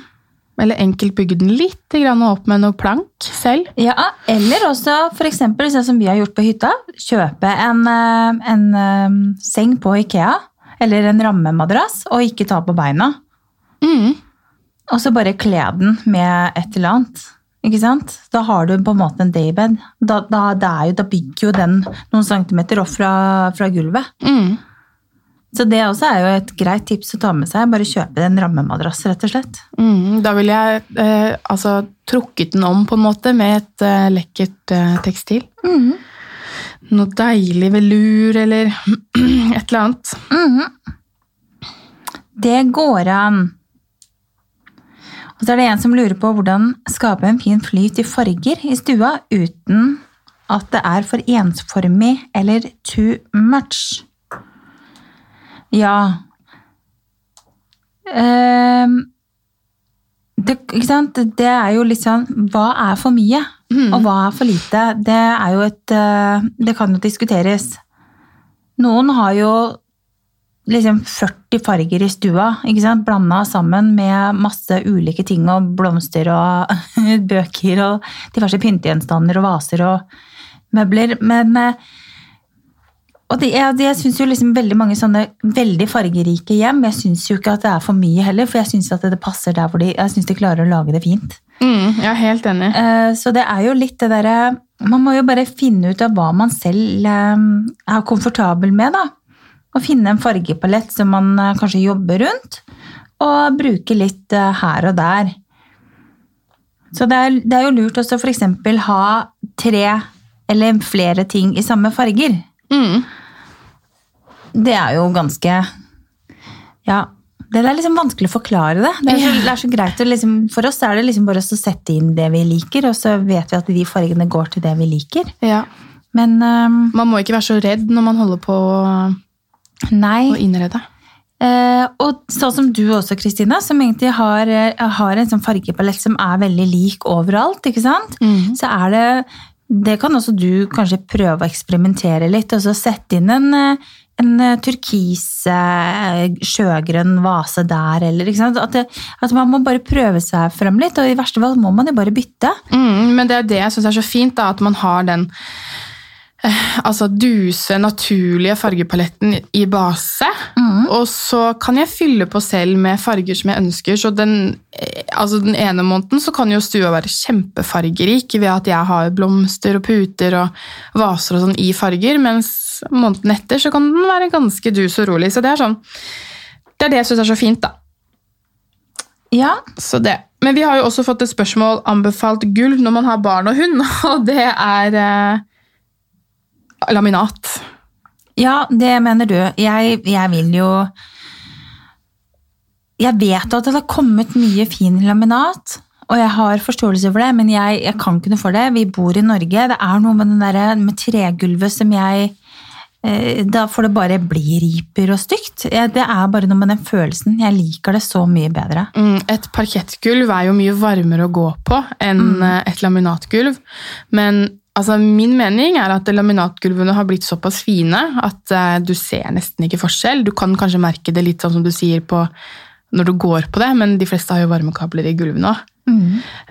Speaker 2: Eller enkelt bygge den litt grann opp med noe plank selv.
Speaker 1: Ja, Eller også f.eks. sånn som vi har gjort på hytta. Kjøpe en, eh, en eh, seng på Ikea, eller en rammemadrass, og ikke ta på beina.
Speaker 2: Mm.
Speaker 1: Og så bare kle den med et eller annet. Ikke sant? Da har du på en måte en daybed. Da, da, det er jo, da bygger jo den noen centimeter opp fra, fra gulvet.
Speaker 2: Mm.
Speaker 1: Så det også er jo et greit tips å ta med seg. Bare kjøpe en rammemadrass, rett og slett.
Speaker 2: Mm, da ville jeg eh, altså, trukket den om på en måte med et eh, lekkert eh, tekstil. Noe deilig velur eller et eller annet.
Speaker 1: Mhm. Det går an. Og så er det en som lurer på hvordan skape en fin flyt i farger i stua uten at det er for ensformig eller too much. Ja Ehm, det, ikke sant? det er jo litt sånn Hva er for mye, og hva er for lite? Det er jo et eh, Det kan jo diskuteres. Noen har jo liksom 40 farger i stua, ikke sant? blanda sammen med masse ulike ting og blomster og bøker og diverse pyntegjenstander og vaser og møbler. Men eh, og det, jeg, det, jeg synes jo liksom veldig mange sånne veldig fargerike hjem Jeg syns jo ikke at det er for mye heller, for jeg syns at det passer der hvor de, jeg synes de klarer å lage det fint.
Speaker 2: Mm, jeg er helt enig.
Speaker 1: Eh, Så det er jo litt det derre Man må jo bare finne ut av hva man selv eh, er komfortabel med, da. Og finne en fargepalett som man eh, kanskje jobber rundt, og bruke litt eh, her og der. Så det er, det er jo lurt også f.eks. ha tre eller flere ting i samme farger.
Speaker 2: Mm.
Speaker 1: Det er jo ganske Ja. Det er liksom vanskelig å forklare det. Det er så, det er så greit å liksom, For oss er det liksom bare å sette inn det vi liker, og så vet vi at de fargene går til det vi liker.
Speaker 2: Ja.
Speaker 1: Men ehm, øhm,
Speaker 2: Man må ikke være så redd når man holder på å
Speaker 1: nei.
Speaker 2: innrede.
Speaker 1: Eh, Eh, og sånn som du også, Kristina, som egentlig har, eh, har en sånn fargepalett som er veldig lik overalt, ikke sant? så er det Det kan også du kanskje prøve å eksperimentere litt, og så sette inn en eh, en eh, turkis, eh, sjøgrønn vase der, eller ikke sant? At, det, at man må bare prøve seg frem litt, og i verste fall må man jo bare bytte.
Speaker 2: Mm, men det er det jeg syns er så fint, da, at man har den eh, altså duse, naturlige fargepaletten i base.
Speaker 1: Mm.
Speaker 2: Og så kan jeg fylle på selv med farger som jeg ønsker. Så den, eh, altså den ene måneden så kan jo stua være kjempefargerik ved at jeg har blomster og puter og vaser og sånn i farger, mens måneden etter så kan den være ganske dus og rolig. Så det er sånn Det er det jeg syns er så fint, da.
Speaker 1: Ja,
Speaker 2: Så det. Men vi har jo også fått et spørsmål anbefalt gulv når man har barn og hund, og det er eh, laminat.
Speaker 1: Ja, det mener du. Jeg, jeg vil jo Jeg vet at det har kommet mye fin laminat, og jeg har forståelse for det, men jeg, jeg kan ikke noe for det. Vi bor i Norge. Det er noe med, den der, med tregulvet som jeg eh, Da får det bare bli riper og stygt. Jeg- Det er bare noe med den følelsen. Jeg liker det så mye bedre.
Speaker 2: Mm, Et parkettgulv er jo mye varmere å gå på enn eh, et laminatgulv. Men altså, min mening er at laminatgulvene har blitt såpass fine at eh, du ser nesten ikke forskjell. Du kan kanskje merke det litt sånn som du sier på når du går på det, men de fleste har jo varmekabler i gulvene òg.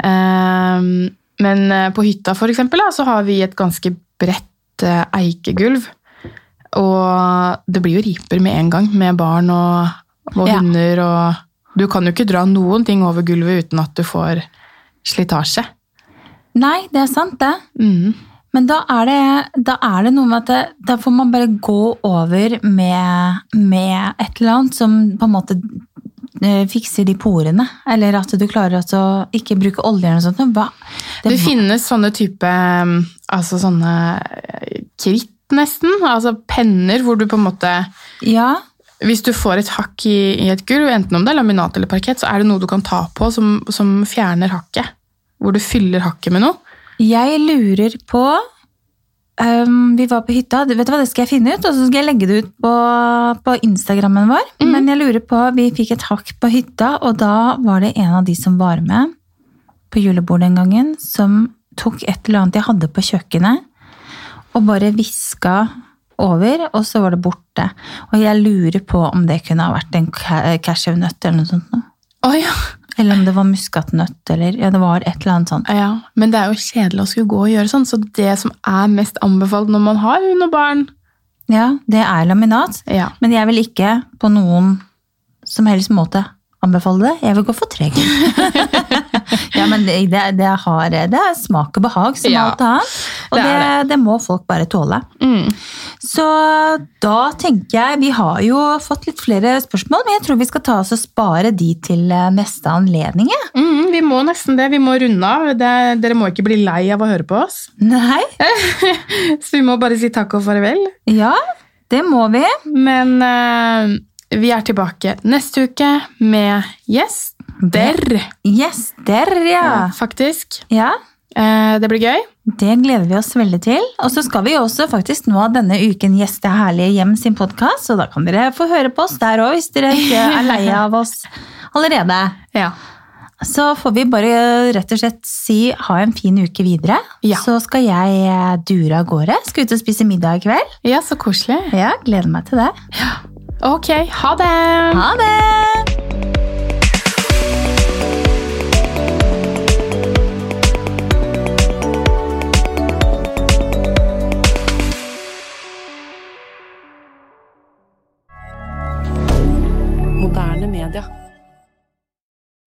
Speaker 2: Ehm, Men eh, på hytta for eksempel, da, så har vi et ganske bredt eh, eikegulv. Og det blir jo riper med en gang, med barn og, og
Speaker 1: Ja.
Speaker 2: hunder. Og du kan jo ikke dra noen ting over gulvet uten at du får slitasje.
Speaker 1: Nei, det er sant, det.
Speaker 2: Mm.
Speaker 1: Men da er det, da er det noe med at det, da får man bare gå over med, med et eller annet som på en måte eh, fikser de porene. Eller at du klarer altså ikke bruke olje eller noe sånt. men Hva?
Speaker 2: Det,
Speaker 1: Det,
Speaker 2: finnes sånne type mm, altså sånne eh, kritt, nesten. Altså penner hvor du på en måte
Speaker 1: ja,
Speaker 2: Hvis du får et hakk i, i et gulv, enten om det er laminat eller parkett, så er det noe du kan ta på som, som fjerner hakket. Hvor du fyller hakket med noe.
Speaker 1: jeg lurer på ehm, Vi var på hytta. Vet du hva, det skal jeg finne ut, og så skal jeg legge det ut på, på Instagrammen vår. Men jeg lurer på Vi fikk et hakk på hytta, og da var det en av de som var med. på julebordet den gangen, som tok et eller annet jeg hadde på kjøkkenet, og bare viska over, og så var det borte. Og jeg lurer på om det kunne ha vært en ca- cashewnøtt eller noe sånt. nå.
Speaker 2: Å ja.
Speaker 1: Eller om det var muskatnøtt, eller ja, det var et eller annet sånt.
Speaker 2: ja. Men det er jo kjedelig å skulle gå og gjøre sånn, så det som er mest anbefalt når man har hund og barn
Speaker 1: Ja, det er laminat,
Speaker 2: ja.
Speaker 1: men jeg vil ikke på noen som helst måte anbefale det. Jeg vil gå for treg. ja, men det, det, det, har, det er smak og behag som
Speaker 2: Ja,
Speaker 1: alt annet. Og
Speaker 2: det
Speaker 1: det,
Speaker 2: er
Speaker 1: det. må folk bare tåle.
Speaker 2: Mm.
Speaker 1: Så da tenker jeg Vi har jo fått litt flere spørsmål, men jeg tror vi skal ta oss og spare de til eh, neste anledning. jeg.
Speaker 2: Mm, vi må nesten det. Vi må runde av. Det, dere må ikke bli lei av å høre på oss.
Speaker 1: Nei?
Speaker 2: Så vi må bare si takk og farvel.
Speaker 1: Ja, det må vi.
Speaker 2: Men eh, vi er tilbake neste uke med gjester.
Speaker 1: Gjester, ja.
Speaker 2: Faktisk.
Speaker 1: ja.
Speaker 2: Eh, det blir gøy.
Speaker 1: Det gleder vi oss veldig til. Og så skal vi jo også faktisk nå denne uken gjeste Herlige hjem sin podkast, så da kan dere få høre på oss der òg hvis dere ikke er lei av oss allerede.
Speaker 2: Ja.
Speaker 1: Så får vi bare rett og slett si ha en fin uke videre.
Speaker 2: Ja.
Speaker 1: Så skal jeg eh, dure av gårde. Skal ut og spise middag i kveld.
Speaker 2: Ja, så koselig.
Speaker 1: Ja, gleder meg til det.
Speaker 2: Ok, ha det!
Speaker 1: Ha det!
Speaker 3: Moderne media.